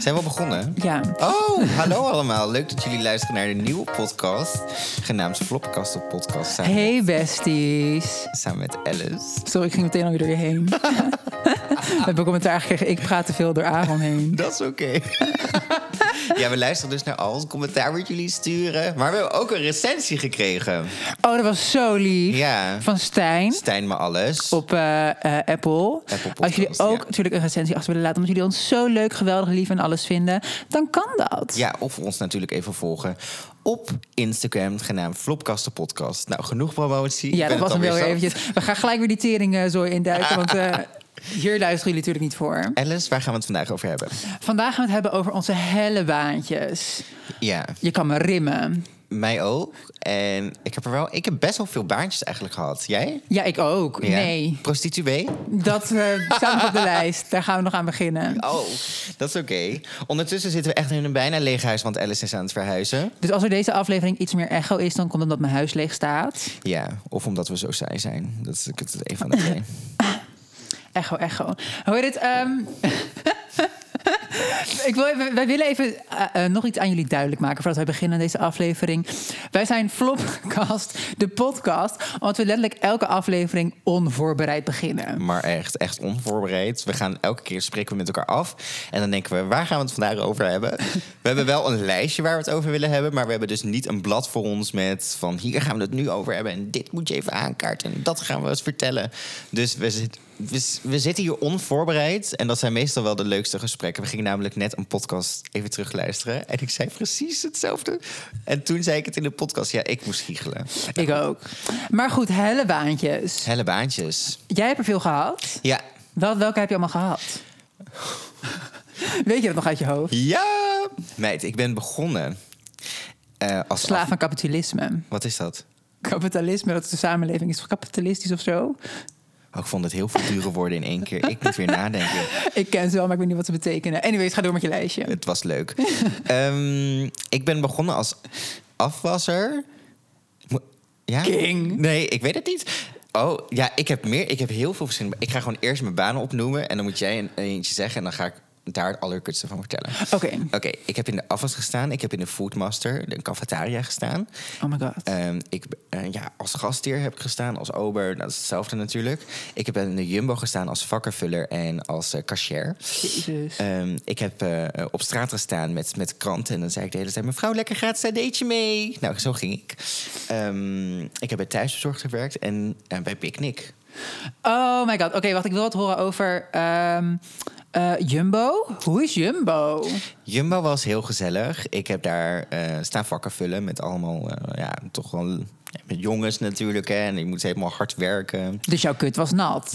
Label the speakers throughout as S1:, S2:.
S1: Zijn we al begonnen?
S2: Ja.
S1: Oh, hallo allemaal. Leuk dat jullie luisteren naar de nieuwe podcast. Genaamd Flopkast op podcast. Samen,
S2: Hey besties.
S1: samen met Alice.
S2: Sorry, ik ging meteen alweer door je heen. We hebben commentaar gekregen. Ik praat te veel door Aaron heen.
S1: Dat is oké. ja, we luisteren dus naar al het commentaar wat jullie sturen. Maar we hebben ook een recensie gekregen.
S2: Oh, dat was zo lief.
S1: Ja.
S2: Van Stijn
S1: Stijn maar alles.
S2: op eh, eh, Apple.
S1: Podcast,
S2: Als jullie ook
S1: ja.
S2: natuurlijk een recensie achter willen laten... omdat jullie ons zo leuk, geweldig, lief en alles vinden... dan kan dat.
S1: Ja, of ons natuurlijk even volgen op Instagram, genaamd Flopkasten Podcast. Nou, genoeg promotie.
S2: Ja,
S1: Ik ben
S2: dat was
S1: het
S2: hem wel
S1: alweer
S2: weer
S1: zat.
S2: eventjes. We gaan gelijk weer die tering eh, zo induiken... want eh, hier luisteren jullie natuurlijk niet voor.
S1: Alice, waar gaan we het vandaag over hebben?
S2: Vandaag gaan we het hebben over onze hellebaantjes.
S1: Ja,
S2: Je kan me rimmen.
S1: mij ook. En ik heb er wel, ik heb best wel veel baantjes eigenlijk gehad. Jij?
S2: Ja, ik ook.
S1: Ja.
S2: Nee.
S1: Prostituee?
S2: Dat eh, staat nog op de lijst. Daar gaan we nog aan beginnen.
S1: Oh, dat is oké. Ondertussen zitten we echt in een bijna leeg huis, want Alice is aan het verhuizen.
S2: Dus als er deze aflevering iets meer echo is, dan komt het omdat mijn huis leeg staat.
S1: Ja, of omdat we zo saai zijn. Dat is ik- het is een van de twee.
S2: Echo, echo. Hoe heet het? ehm, ik wil even, wij willen even eh, eh, nog iets aan jullie duidelijk maken voordat wij beginnen aan deze aflevering. Wij zijn Flopcast, de podcast, omdat we letterlijk elke aflevering onvoorbereid beginnen.
S1: Maar echt, echt onvoorbereid. We gaan elke keer spreken we met elkaar af. En dan denken we, waar gaan we het vandaag over hebben? We hebben wel een lijstje waar we het over willen hebben. Maar we hebben dus niet een blad voor ons met van... hier gaan we het nu over hebben en dit moet je even aankaarten. En dat gaan we eens vertellen. Dus we, zit- we, s- we zitten hier onvoorbereid. En dat zijn meestal wel de leukste gesprekken. We gingen namelijk net een podcast even terugluisteren. En ik zei precies hetzelfde. En toen zei ik het in de podcast. Ja, ik moest giechelen.
S2: Ik ook. Maar goed, hellebaantjes.
S1: Helle baantjes.
S2: Jij hebt er veel gehad.
S1: Ja.
S2: Wel, welke heb je allemaal gehad? Weet je dat nog uit je hoofd?
S1: Ja! Meid, ik ben begonnen. eh, als
S2: Slaaf aan kapitalisme.
S1: Wat is dat?
S2: Kapitalisme, dat is de samenleving is kapitalistisch of zo.
S1: Oh, ik vond het heel veel dure woorden in één keer. Ik moet weer nadenken.
S2: Ik ken ze wel, maar ik weet niet wat ze betekenen. Anyways, ga door met je lijstje.
S1: Het was leuk. Ehm, ik ben begonnen als afwasser. Mo- Ja?
S2: King.
S1: Nee, ik weet het niet. Oh, ja, ik heb meer. Ik heb heel veel verschillende. Ik ga gewoon eerst mijn banen opnoemen. En dan moet jij een, eentje zeggen. En dan ga ik daar het allerkutste van vertellen.
S2: Oké.
S1: Oké, ik heb in de afwas gestaan. Ik heb in de Foodmaster, de cafetaria gestaan.
S2: Oh my god.
S1: Ehm, ik, eh, ja, als gastheer heb ik gestaan, als ober, nou, dat is hetzelfde natuurlijk. Ik heb in de Jumbo gestaan als vakkenvuller en als eh cashier.
S2: Jezus.
S1: Ehm, ik heb eh, eh, op straat gestaan met, met kranten en dan zei ik de hele tijd... mevrouw, lekker gratis cd'tje mee. Nou, zo ging ik. Ehm, ik heb bij thuisbezorgd gewerkt en eh, bij Picnic.
S2: Oh my god. Oké, wacht. Ik wil wat horen over ehm, eh, Jumbo. Hoe is Jumbo?
S1: Jumbo was heel gezellig. Ik heb daar eh, staan vakken vullen met allemaal, eh, ja, toch wel... ja, Met jongens natuurlijk, hè. En ik moet helemaal hard werken.
S2: Dus jouw kut was nat.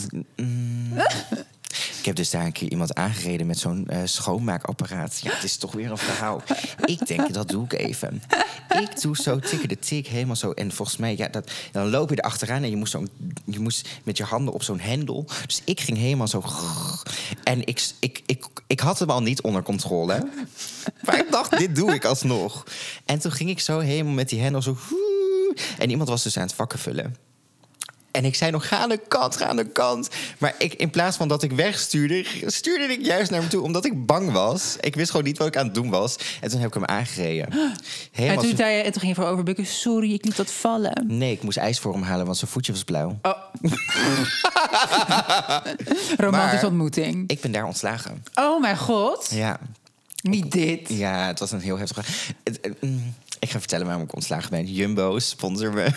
S1: Ik heb dus daar een keer iemand aangereden met zo'n eh, schoonmaakapparaat. Ja, het is toch weer een verhaal. ik denk, dat doe ik even. Ik doe zo tikken de tik, helemaal zo. En volgens mij, ja, dat, dan loop je er achteraan en je moest, zo'n, je moest met je handen op zo'n hendel. Dus ik ging helemaal zo... En ik, ik, ik, ik had hem al niet onder controle. Maar ik dacht, dit doe ik alsnog. En toen ging ik zo helemaal met die hendel zo... En iemand was dus aan het vakken vullen. En ik zei nog, ga aan de kant, ga aan de kant. Maar ik, in plaats van dat ik wegstuurde, stuurde ik juist naar hem toe. Omdat ik bang was. Ik wist gewoon niet wat ik aan het doen was. En toen heb ik hem aangereden.
S2: En
S1: Helemaal
S2: toen,
S1: zo-
S2: zei je, en toen ging je voor overbukken. Sorry, ik liet dat vallen.
S1: Nee, ik moest ijs voor hem halen, want zijn voetje was blauw.
S2: Romantische
S1: Maar-
S2: ontmoeting.
S1: Ik ben daar ontslagen.
S2: Oh mijn god.
S1: Ja,
S2: Niet dit.
S1: ja het was een heel heftig... verhaal. Het- het- mm, Ik ga vertellen waarom ik ontslagen ben. Jumbo, sponsor me.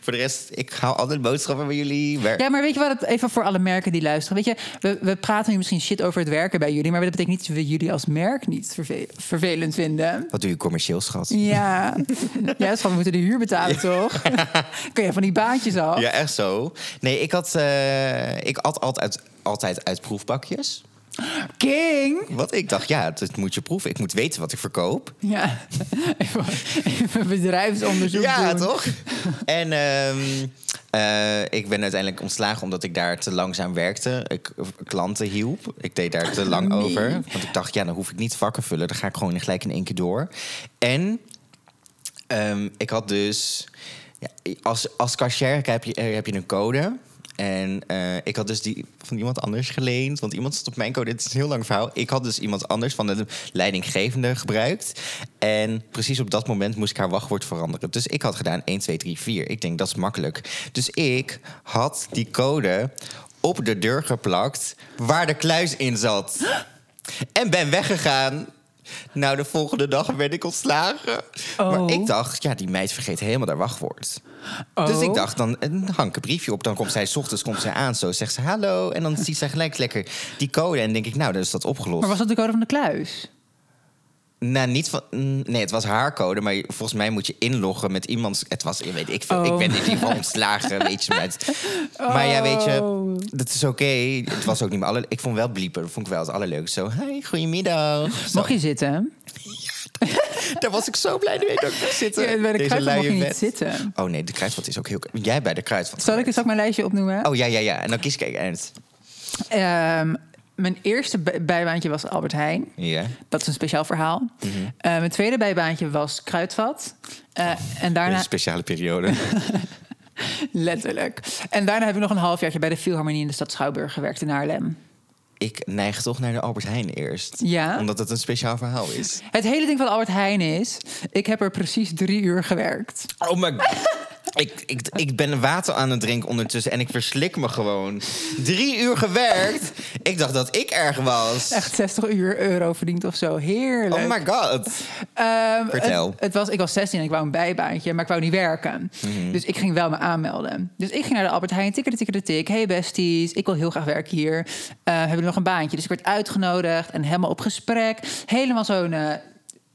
S1: voor de rest, ik hou altijd boodschappen bij jullie. Maar-
S2: Ja, maar weet je wat? Het, even voor alle merken die luisteren. Weet je, we, we praten nu misschien shit over het werken bij jullie. Maar dat betekent niet dat we jullie als merk niet verve- vervelend vinden.
S1: Wat doe je commercieel, schat?
S2: Ja, ja schat, we moeten de huur betalen, toch? Kun je van die baantjes af?
S1: Ja, echt zo. Nee, ik had, eh, ik at altijd, altijd uit proefbakjes.
S2: King!
S1: Want ik dacht, ja, het, het moet je proeven. Ik moet weten wat ik verkoop.
S2: Ja, even, even bedrijfsonderzoek
S1: ja,
S2: doen.
S1: toch? en ehm, eh, ik ben uiteindelijk ontslagen omdat ik daar te langzaam werkte. Ik eh, klanten hielp. Ik deed daar te lang
S2: Nee.
S1: over. Want ik dacht, ja, dan hoef ik niet vakken vullen. Dan ga ik gewoon gelijk in één keer door. En ehm, ik had dus... Ja, als, als cashier heb je, eh, heb je een code... En eh, ik had dus die van iemand anders geleend. Want iemand stond op mijn code. Dit is een heel lang verhaal. Ik had dus iemand anders van de leidinggevende gebruikt. En precies op dat moment moest ik haar wachtwoord veranderen. Dus ik had gedaan 1, 2, 3, 4. Ik denk dat is makkelijk. Dus ik had die code op de deur geplakt waar de kluis in zat. En ben weggegaan. Nou, de volgende dag werd ik ontslagen.
S2: Oh.
S1: Maar ik dacht, ja, die meid vergeet helemaal haar wachtwoord. Dus
S2: Oh.
S1: ik dacht, dan eh, hang ik een briefje op. Dan komt zij, 's ochtends komt zij aan, zo zegt ze hallo. En dan ziet zij gelijk lekker die code. En denk ik, nou, dan is dat opgelost.
S2: Maar was dat de code van de kluis?
S1: Nou, niet van. mm, Nee, het was haar code, maar volgens mij moet je inloggen met iemands. Het was, weet ik veel.
S2: Oh.
S1: Ik ben in ieder geval ontslagen, weet je. Maar, het- maar ja, weet
S2: Oh.
S1: je, dat is oké. Het was ook niet mijn aller. Ik vond wel bliepen, dat vond ik wel het allerleukste. Zo, hi, goedemiddag. Zo,
S2: Mocht je zitten?
S1: Daar was ik zo blij mee dat ik mocht zitten.
S2: Ja, bij de
S1: Deze
S2: Kruidvat
S1: luie
S2: mocht je
S1: vent.
S2: niet zitten.
S1: Oh nee, de kruidvat is ook heel. Jij bij de kruidvat.
S2: Zal ik, zal ik mijn lijstje opnoemen?
S1: Oh ja, ja, ja. En dan kies ik Ernst.
S2: Ehm, mijn eerste bij- bijbaantje was Albert Heijn.
S1: Ja.
S2: Dat is een speciaal verhaal. Eh, mijn tweede bijbaantje was Kruidvat. Eh, en daarna...
S1: Een speciale periode.
S2: Letterlijk. En daarna heb ik nog een halfjaartje bij de Philharmonie in de stad Schouwburg gewerkt in Haarlem.
S1: ik neig toch naar de Albert Heijn eerst.
S2: Ja?
S1: Omdat het een speciaal verhaal is.
S2: Het hele ding van Albert Heijn is, ik heb er precies drie uur gewerkt.
S1: Oh my god. Ik, ik, ik ben water aan het drinken ondertussen en ik verslik me gewoon. Drie uur gewerkt. Ik dacht dat ik erg was.
S2: Echt 60 uur euro verdiend of zo. Heerlijk.
S1: Oh my god.
S2: Ehm,
S1: Vertel.
S2: Het, het was, ik was 16 en ik wou een bijbaantje, maar ik wou niet werken.
S1: Mhm.
S2: Dus ik ging wel me aanmelden. Dus ik ging naar de Albert Heijn, tikkerde tikkerde tik. Hey besties, ik wil heel graag werken hier. Eh, hebben jullie nog een baantje? Dus ik werd uitgenodigd en helemaal op gesprek. Helemaal zo'n eh,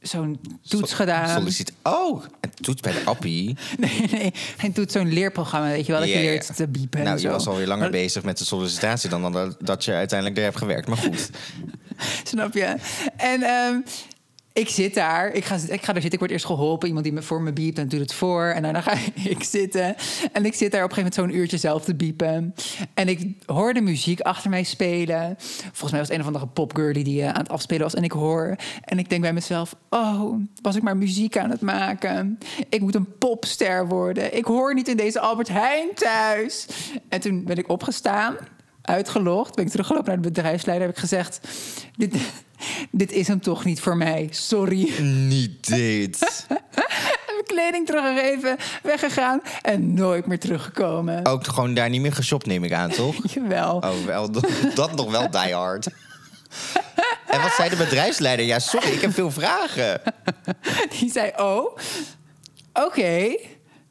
S2: zo'n toets gedaan.
S1: Sollicit. Oh, een toets bij de appie.
S2: Nee, nee, hij doet zo'n leerprogramma, weet je wel. Dat
S1: Ja,
S2: je
S1: ja.
S2: leert te biepen en
S1: Nou, je
S2: zo.
S1: was alweer langer bezig met de sollicitatie dan dat- dat je uiteindelijk er hebt gewerkt. Maar goed.
S2: Snap je? En ehm, ik zit daar. Ik ga, ik ga daar zitten. Ik word eerst geholpen. Iemand die me voor me biept en doet het voor. En daarna ga ik zitten. En ik zit daar op een gegeven moment zo'n uurtje zelf te biepen. En ik hoorde muziek achter mij spelen. Volgens mij was het een of andere popgirlie die eh, aan het afspelen was. En ik hoor. En ik denk bij mezelf... Oh, was ik maar muziek aan het maken. Ik moet een popster worden. Ik hoor niet in deze Albert Heijn thuis. En toen ben ik opgestaan uitgelogd. Ben ik teruggelopen naar de bedrijfsleider. Heb ik gezegd: dit, dit is hem toch niet voor mij. Sorry.
S1: Niet dit.
S2: Heb ik kleding teruggegeven, weggegaan en nooit meer teruggekomen.
S1: Ook gewoon daar niet meer geshopt, neem ik aan, toch?
S2: Jawel.
S1: Oh, wel, dat nog wel die hard. En wat zei de bedrijfsleider? Ja, sorry, ik heb veel vragen.
S2: Die zei: Oh, oké.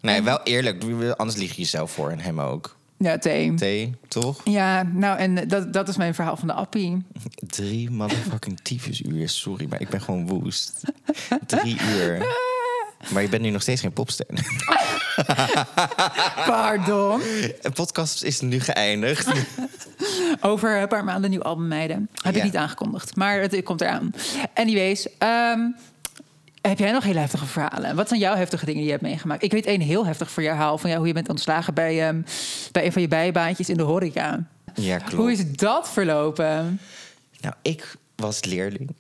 S1: Nee, wel eerlijk. Anders lieg je jezelf voor en hem ook.
S2: Ja, thee.
S1: Thee, toch?
S2: Ja, nou, en dat, dat is mijn verhaal van de appie.
S1: Drie motherfucking tyfusuur. Sorry, maar ik ben gewoon woest. Drie uur. Maar je bent nu nog steeds geen popster.
S2: Pardon.
S1: Een podcast is nu geëindigd.
S2: Over een paar maanden nieuw album Meiden. Heb ik
S1: Ja.
S2: niet aangekondigd, maar het komt eraan. Anyways, ehm, heb jij nog hele heftige verhalen? Wat zijn jouw heftige dingen die je hebt meegemaakt? Ik weet één heel heftig voor jou verhaal van jou, hoe je bent ontslagen bij, ehm, bij een van je bijbaantjes in de horeca.
S1: Ja, klopt.
S2: Hoe is dat verlopen?
S1: Nou, ik was leerling.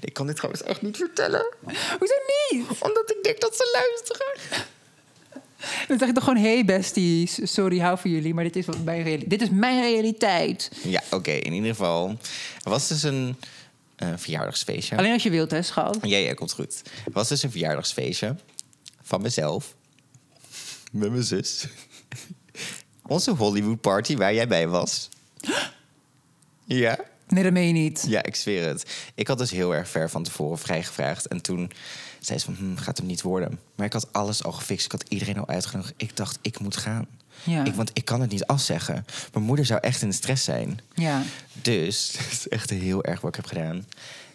S1: Ik kan dit trouwens echt niet vertellen.
S2: Hoezo niet?
S1: Omdat ik denk dat ze luisteren.
S2: Dan zeg ik toch gewoon, hey besties, sorry, hou van jullie, maar dit is, wat mijn, reali- dit is mijn realiteit.
S1: Ja, oké. in ieder geval. Er was dus een eh, verjaardagsfeestje.
S2: Alleen als je wilt, hè, schat.
S1: Ja, ja, komt goed. Het was dus een verjaardagsfeestje van mezelf. Met mijn zus. Onze Hollywood party waar jij bij was. Ja.
S2: Nee, dat meen je niet.
S1: Ja, ik zweer het. Ik had dus heel erg ver van tevoren vrijgevraagd. En toen zei ze van, "Hm, gaat hem niet worden. Maar ik had alles al gefixt. Ik had iedereen al uitgenodigd. Ik dacht, ik moet gaan.
S2: Ja.
S1: Ik, want ik kan het niet afzeggen. Mijn moeder zou echt in de stress zijn.
S2: Ja.
S1: Dus, dat is echt heel erg wat ik heb gedaan.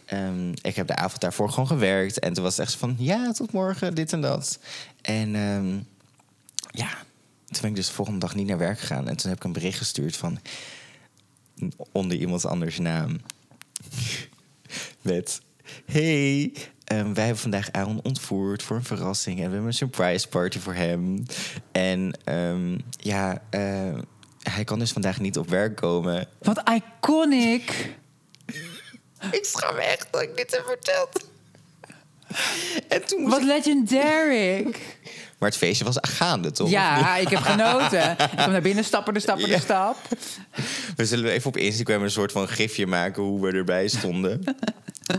S1: Ehm, ik heb de avond daarvoor gewoon gewerkt. En toen was het echt van, ja, tot morgen, dit en dat. En ehm, ja, toen ben ik dus de volgende dag niet naar werk gegaan. En toen heb ik een bericht gestuurd van... onder iemand anders naam. Met, hey... ehm, wij hebben vandaag Aaron ontvoerd voor een verrassing. En we hebben een surprise party voor hem. En ehm, ja, eh, hij kan dus vandaag niet op werk komen.
S2: Wat iconic.
S1: Ik schaam me echt dat ik dit heb verteld. En toen moest
S2: Wat legendary.
S1: ik- Maar het feestje was gaande, toch? Of
S2: Ja, ik heb genoten. Ik kwam naar binnen, stapper de stapper
S1: Ja.
S2: de stap.
S1: niet? We zullen even op Instagram een soort van gifje maken hoe we erbij stonden.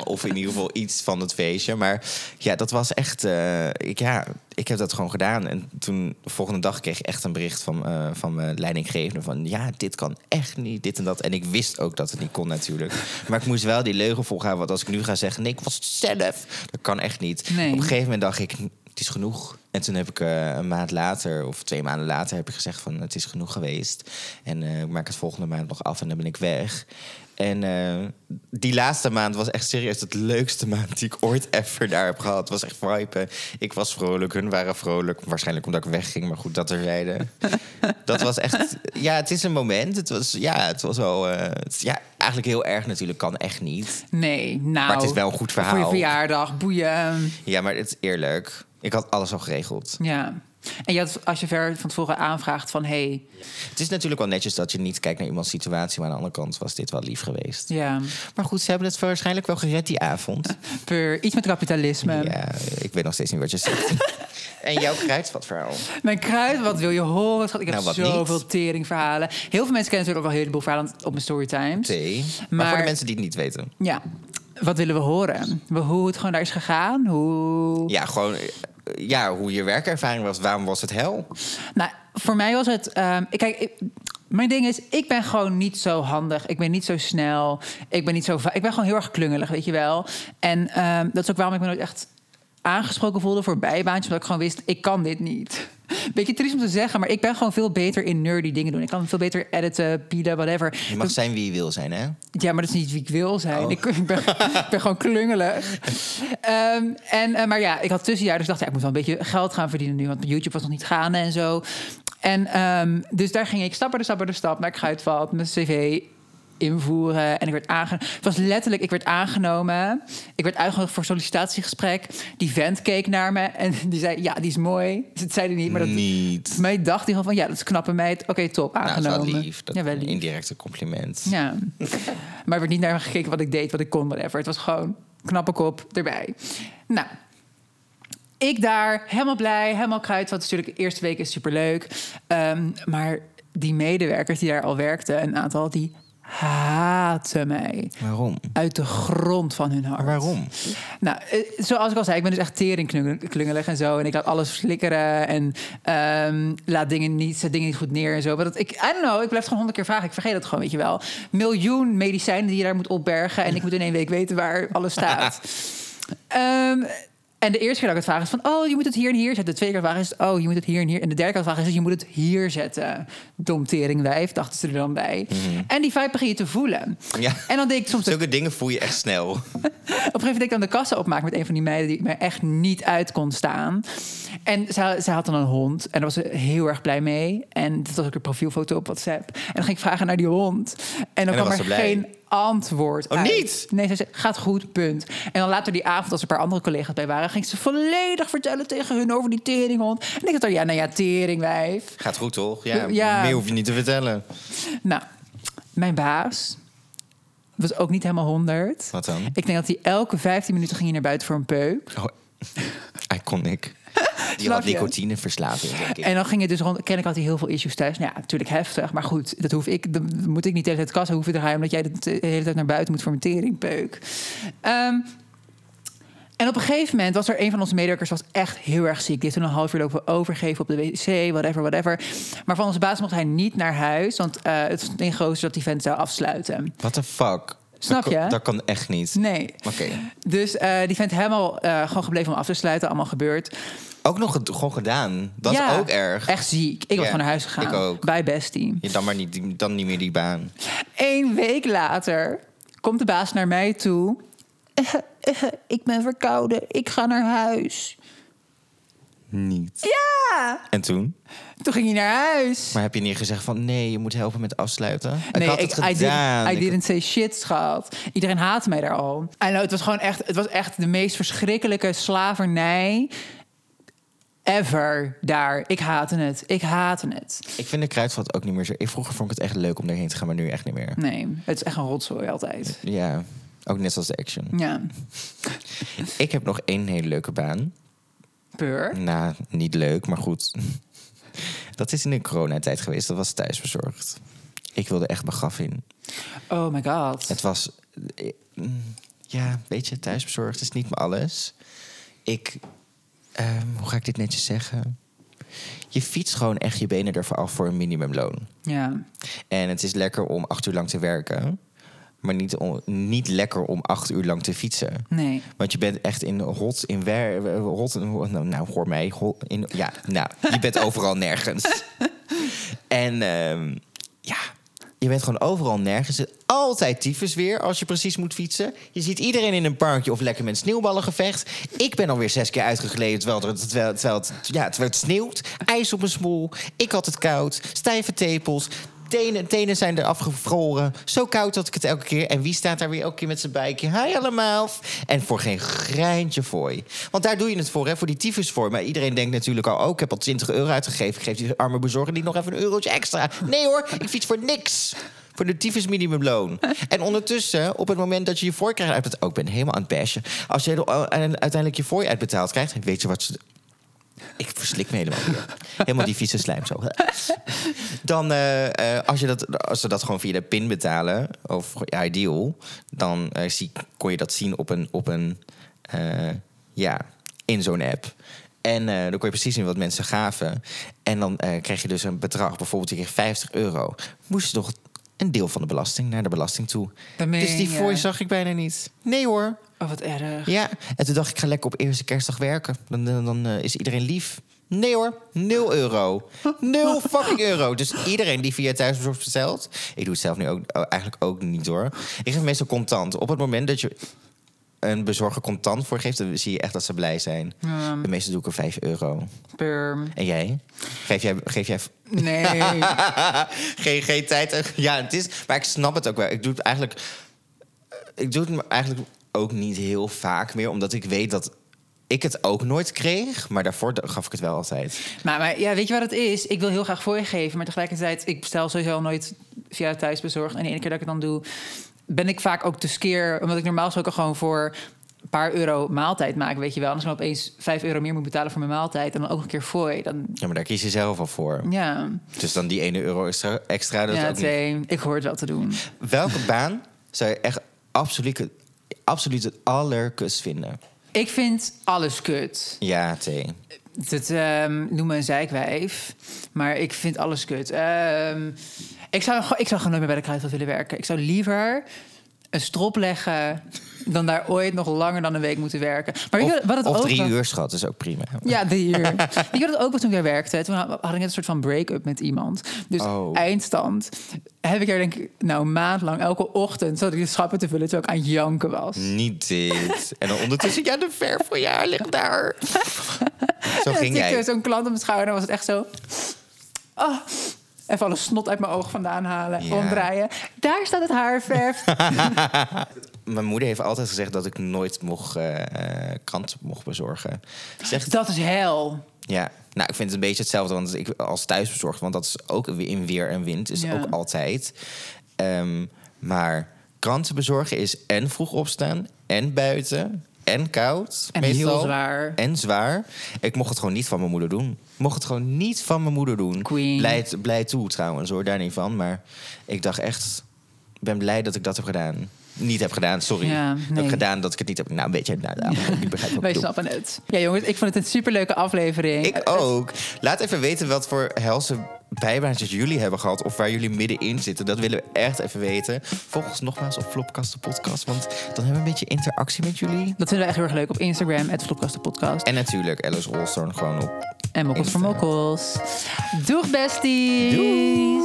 S1: of in ieder geval iets van het feestje. Maar ja, dat was echt... eh, ik, ja, ik heb dat gewoon gedaan. En toen, de volgende dag kreeg ik echt een bericht van, eh, van mijn leidinggevende. Van ja, dit kan echt niet, dit en dat. En ik wist ook dat het niet kon natuurlijk. Maar ik moest wel die leugen volgaan. Want als ik nu ga zeggen, nee, ik was het zelf. Dat kan echt niet.
S2: Nee.
S1: Op een gegeven moment dacht ik, het is genoeg. En toen heb ik eh, een maand later, of twee maanden later, heb ik gezegd van het is genoeg geweest. En eh, ik maak het volgende maand nog af en dan ben ik weg. En eh, die laatste maand was echt serieus het leukste maand die ik ooit ever daar heb gehad. Het was echt vibe. Ik was vrolijk, hun waren vrolijk. Waarschijnlijk omdat ik wegging, maar goed, dat terzijde. dat was echt... Ja, het is een moment. Het was, ja, het was wel... eh, het is- ja, eigenlijk heel erg natuurlijk. Kan echt niet.
S2: Nee, nou.
S1: Maar het is wel een goed
S2: Voor je
S1: verhaal.
S2: verjaardag, boeien. ehm,
S1: Ja, maar het is eerlijk. Ik had alles al geregeld.
S2: Ja. En je had, als je ver van tevoren aanvraagt van... hey,
S1: Het is natuurlijk wel netjes dat je niet kijkt naar iemands situatie, maar aan de andere kant was dit wel lief geweest.
S2: ja,
S1: Maar goed, ze hebben het waarschijnlijk wel gered die avond. Ehm.
S2: per, iets met kapitalisme.
S1: Ja, ik weet nog steeds niet wat je zegt. en jouw kruidvatverhaal.
S2: Mijn kruid, wat wil je horen? schat? Ik heb
S1: Nou, wat
S2: zoveel
S1: niet?
S2: teringverhalen. Heel veel mensen kennen natuurlijk ook wel een heleboel verhalen op mijn storytimes.
S1: Thee. Maar,
S2: Maar-
S1: voor de mensen die het niet weten.
S2: Ja, wat willen we horen? We- Hoe het gewoon daar is gegaan? Hoe...
S1: Ja, gewoon eh, ja, hoe je werkervaring was. Waarom was het hel?
S2: Nou, voor mij was het... ehm, ik- kijk, ik- mijn ding is, ik ben gewoon niet zo handig. Ik ben niet zo snel. Ik ben, niet zo va- ik ben gewoon heel erg klungelig, weet je wel. En ehm, dat is ook waarom ik me nooit echt aangesproken voelde voor bijbaantjes. Omdat ik gewoon wist, ik kan dit niet. Beetje triest om te zeggen, maar ik ben gewoon veel beter in nerdy dingen doen. Ik kan veel beter editen, bieden, whatever.
S1: Je mag zijn wie je wil zijn, hè?
S2: Ja, maar dat is niet wie ik wil zijn.
S1: Oh.
S2: Ik, ik ben, ik ben gewoon klungelig. Ehm, en, eh, maar ja, ik had tussenjaar, dus ik dacht ja, ik moet wel een beetje geld gaan verdienen nu, want YouTube was nog niet gaande en zo. En ehm, dus daar ging ik stap bij de stap bij de stap naar Kruidvat, mijn cv invoeren en ik werd aangenomen. Het was letterlijk, ik werd aangenomen. Ik werd uitgenodigd voor een sollicitatiegesprek. Die vent keek naar me en die zei, ja, die is mooi. Dus dat zei hij niet, maar dat...
S1: niet.
S2: Voor mij dacht hij gewoon van, ja, dat is een knappe meid. Oké, top,
S1: Nou, dat
S2: aangenomen.
S1: is wel lief. Dat
S2: ja, wel
S1: een
S2: lief.
S1: indirecte compliment.
S2: Ja. maar er werd niet naar me gekeken wat ik deed, wat ik kon, whatever. Het was gewoon knappe kop erbij. Nou, ik daar, helemaal blij, helemaal kruid. Want natuurlijk, de eerste week is superleuk. Ehm, maar die medewerkers die daar al werkten, een aantal, die haatten mij.
S1: Waarom?
S2: Uit de grond van hun hart.
S1: Maar waarom?
S2: Nou, eh, zoals ik al zei, ik ben dus echt teringklungelig en zo. En ik laat alles flikkeren en ehm, laat dingen niet, zet dingen niet goed neer en zo. Maar dat ik, I don't know, ik blijf het gewoon honderd keer vragen. Ik vergeet het gewoon, weet je wel. Miljoen medicijnen die je daar moet opbergen. En ik moet in één week weten waar alles staat. Ehm, en de eerste keer dat ik het vraag is van... oh, je moet het hier en hier zetten. De tweede keer vraag is oh, je moet het hier en hier. En de derde keer vraag is je moet het hier zetten. Domteringwijf, dachten ze er dan bij. En die vibe begin je te voelen.
S1: Mhm. Ja.
S2: En dan denk ik soms... de
S1: Zulke dingen voel je echt snel.
S2: op een gegeven moment deed ik dan de kassa opmaken met een van die meiden die me echt niet uit kon staan. En zij, zij had dan een hond en daar was ze heel erg blij mee. En dat was ook een profielfoto op WhatsApp. En dan ging ik vragen naar die hond. En dan,
S1: dan was
S2: kwam
S1: ze
S2: er
S1: blij.
S2: geen antwoord
S1: Oh,
S2: uit.
S1: niet?
S2: Nee, ze zei, gaat goed, punt. En dan later die avond, als er een paar andere collega's bij waren... ging ik ze volledig vertellen tegen hun over die teringhond. En ik dacht, dan, ja, nou ja, teringwijf.
S1: Gaat goed, toch? Ja,
S2: Ja.
S1: Meer hoef je niet te vertellen.
S2: Nou, mijn baas was ook niet helemaal 100.
S1: Wat dan?
S2: Ik denk dat hij elke 15 minuten ging hij naar buiten voor een peuk.
S1: Oh, iconic. Die
S2: Snap
S1: had
S2: je?
S1: nicotineverslaving, denk ik.
S2: En dan ging het dus rond. Kennelijk had hij heel veel issues thuis. Nou ja, natuurlijk heftig. Maar goed, dat hoef ik. Dan moet ik niet de hele tijd kassa hoeven draaien. Omdat jij de de hele tijd naar buiten moet voor mijn teringpeuk. Ehm, en op een gegeven moment was er een van onze medewerkers was echt heel erg ziek. Die heeft toen een half uur lopen overgeven op de wc, whatever, whatever. Maar van onze baas mocht hij niet naar huis. Want eh, het stond in gozer dat die vent zou afsluiten.
S1: What the fuck?
S2: Snap
S1: dat,
S2: je?
S1: Kan, dat kan echt niet.
S2: Nee.
S1: Oké.
S2: Dus eh, die vent helemaal eh, gewoon gebleven om af te sluiten. Allemaal gebeurd.
S1: Ook nog het, gewoon gedaan. Dat
S2: Ja,
S1: is ook erg.
S2: Echt ziek. Ik was
S1: Ja,
S2: gewoon naar huis gegaan.
S1: ik ook.
S2: Bij bestie.
S1: Je dan maar niet, die- dan niet meer die baan.
S2: Eén week later komt de baas naar mij toe. Eh, ik ben verkouden, ik ga naar huis.
S1: Niet.
S2: Ja!
S1: En toen?
S2: Toen ging hij naar huis.
S1: Maar heb je niet gezegd van nee, je moet helpen met afsluiten?
S2: nee,
S1: ik had het
S2: I,
S1: gedaan.
S2: didn't, I
S1: Ik-
S2: didn't say shit, schat. Iedereen haatte mij daar al. I know, het was gewoon echt, het was echt de meest verschrikkelijke slavernij ever daar. Ik haatte het, ik haatte het.
S1: Ik vind de kruidvat ook niet meer zo. Ik vroeger vond ik het echt leuk om daarheen te gaan, maar nu echt niet meer.
S2: Nee, het is echt een rotzooi altijd.
S1: Ja, ook net als de action.
S2: Ja.
S1: Ik heb nog één hele leuke baan.
S2: Per?
S1: Nou, niet leuk, maar goed. Dat is in de coronatijd geweest. Dat was thuisbezorgd. Ik wilde echt mijn graf in.
S2: Oh my god.
S1: Het was... eh, mm, Ja, weet je, thuisbezorgd is niet mijn alles. Ik... ehm, hoe ga ik dit netjes zeggen? Je fietst gewoon echt je benen ervoor af voor een minimumloon.
S2: Ja.
S1: En het is lekker om acht uur lang te werken. Maar niet, om- niet lekker om acht uur lang te fietsen.
S2: Nee.
S1: Want je bent echt in rot, in wer, rot, nou, nou hoor mij, ho- in, ja, nou, je bent overal nergens. En ehm, ja, je bent gewoon overal nergens. Altijd tyfus weer als je precies moet fietsen. Je ziet iedereen in een parkje of lekker met sneeuwballengevecht. Ik ben alweer zes keer uitgegleden terwijl het, terwijl, terwijl het, ja, terwijl het sneeuwt. IJs op mijn smoel. Ik had het koud. Stijve tepels. Tenen, tenen zijn er afgevroren. Zo koud dat ik het elke keer. En wie staat daar weer elke keer met zijn bijkje? Hi allemaal. En voor geen greintje fooi. Want daar doe je het voor, hè? voor die tyfus voor. Maar iedereen denkt natuurlijk al, oh, ik heb al 20 euro uitgegeven. Ik geef die arme bezorger die nog even een eurotje extra. Nee hoor, ik fiets voor niks. Voor de tyfus minimumloon. En ondertussen, op het moment dat je je fooi krijgt... Uit, oh, ik ben helemaal aan het bashen. Als je uiteindelijk je fooi uitbetaald krijgt... weet je wat ze... Ik verslik me helemaal weer. Helemaal die vieze slijm zo. Dan, eh, eh, als, je dat, als ze dat gewoon via de pin betalen, of ideal, dan eh, zie, kon je dat zien op een, op een eh, ja, in zo'n app. En eh, dan kon je precies zien wat mensen gaven. En dan eh, kreeg je dus een bedrag, bijvoorbeeld je kreeg 50 euro. Moest je toch een deel van de belasting naar de belasting toe.
S2: Dan meen
S1: Dus die
S2: je.
S1: fooi zag ik bijna niet. Nee hoor,
S2: Oh, wat erg.
S1: ja, en toen dacht ik, ik ga lekker op eerste kerstdag werken. Dan, dan, dan, eh, is iedereen lief. Nee hoor, nul euro. Nul fucking euro. Dus iedereen die via thuisbezorgd bestelt... Ik doe het zelf nu ook, oh, eigenlijk ook niet hoor. Ik geef meestal contant. Op het moment dat je een bezorger contant voor geeft... dan zie je echt dat ze blij zijn.
S2: Ja.
S1: En meestal doe ik er 5 euro.
S2: Per.
S1: En jij? Geef jij... Geef jij
S2: Nee.
S1: geen, geen tijd. Ja, het is. Maar ik snap het ook wel. Ik doe het eigenlijk. eh, Ik doe het me eigenlijk ook niet heel vaak meer, omdat ik weet dat ik het ook nooit kreeg. Maar daarvoor gaf ik het wel altijd.
S2: Maar, maar ja, weet je wat het is? Ik wil heel graag voor je geven, maar tegelijkertijd, ik bestel sowieso al nooit via thuisbezorgd. En de ene keer dat ik het dan doe, ben ik vaak ook te skeer, omdat ik normaal gesproken gewoon voor een paar euro maaltijd maak, weet je wel. Anders dan opeens vijf euro meer moet betalen voor mijn maaltijd en dan ook een keer fooi. Dan,
S1: Ja, maar daar kies je zelf al voor.
S2: ja,
S1: Dus dan die ene euro extra, extra dat is
S2: ja
S1: ook niet.
S2: twee. Ik hoor het wel te doen.
S1: Welke baan zou je echt absoluut, absoluut het allerkus vinden?
S2: Ik vind alles kut.
S1: Ja, thee.
S2: Dat ehm noem me een zeikwijf, maar ik vind alles kut. Ehm, ik, zou, gewoon- ik zou gewoon nooit meer bij de kruidvat willen werken. Ik zou liever een strop leggen dan daar ooit nog langer dan een week moeten werken. Maar weet je
S1: Of,
S2: wat het
S1: of
S2: ook
S1: drie
S2: was?
S1: uur schat is ook prima.
S2: Ja, drie uur. ik had het ook wel toen ik daar werkte. Toen had had ik net een soort van break-up met iemand. Dus
S1: Oh.
S2: eindstand heb ik daar denk ik nou een maand lang elke ochtend... zat ik de schappen te vullen terwijl ik aan het janken was. Dus
S1: Niet dit. En dan ondertussen, ja, de verf voor jou ligt daar. Zo
S2: En
S1: ging
S2: toen
S1: jij.
S2: ik zo'n klant op mijn schouder en was het echt zo... Oh, even alle snot uit mijn oog vandaan halen,
S1: Ja.
S2: omdraaien. Daar staat het haarverf.
S1: Mijn moeder heeft altijd gezegd dat ik nooit mocht, eh, eh, krant mocht bezorgen. Zegt,
S2: dat is hel.
S1: ja, nou, ik vind het een beetje hetzelfde want ik, als thuisbezorgd. Want dat is ook in weer en wind, is
S2: Ja.
S1: ook altijd. Ehm, maar kranten bezorgen is en vroeg opstaan, en buiten, en koud.
S2: En heel zwaar.
S1: En zwaar. Ik mocht het gewoon niet van mijn moeder doen. Ik mocht het gewoon niet van mijn moeder doen.
S2: Queen.
S1: Blij, blij toe trouwens, hoor, daar niet van. Maar ik dacht echt, ik ben blij dat ik dat heb gedaan. Niet heb gedaan, sorry.
S2: Ja,
S1: Dat
S2: nee.
S1: heb gedaan dat ik het niet heb. Nou, een beetje. Nou, nou, ik begrijp wat
S2: Wij
S1: ik bedoel.
S2: snappen het. Ja jongens, ik vond het een superleuke aflevering.
S1: Ik ook. Laat even weten wat voor helse bijbaantjes jullie hebben gehad. Of waar jullie middenin zitten. Dat willen we echt even weten. Volg ons nogmaals op Flopkast de podcast. Want dan hebben we een beetje interactie met jullie.
S2: Dat vinden we echt heel erg leuk op Instagram, het Podcast.
S1: En natuurlijk Alice Rolstorn gewoon op
S2: En Mokkels voor
S1: Insta.
S2: Mokkels. Doeg besties!
S1: Doei!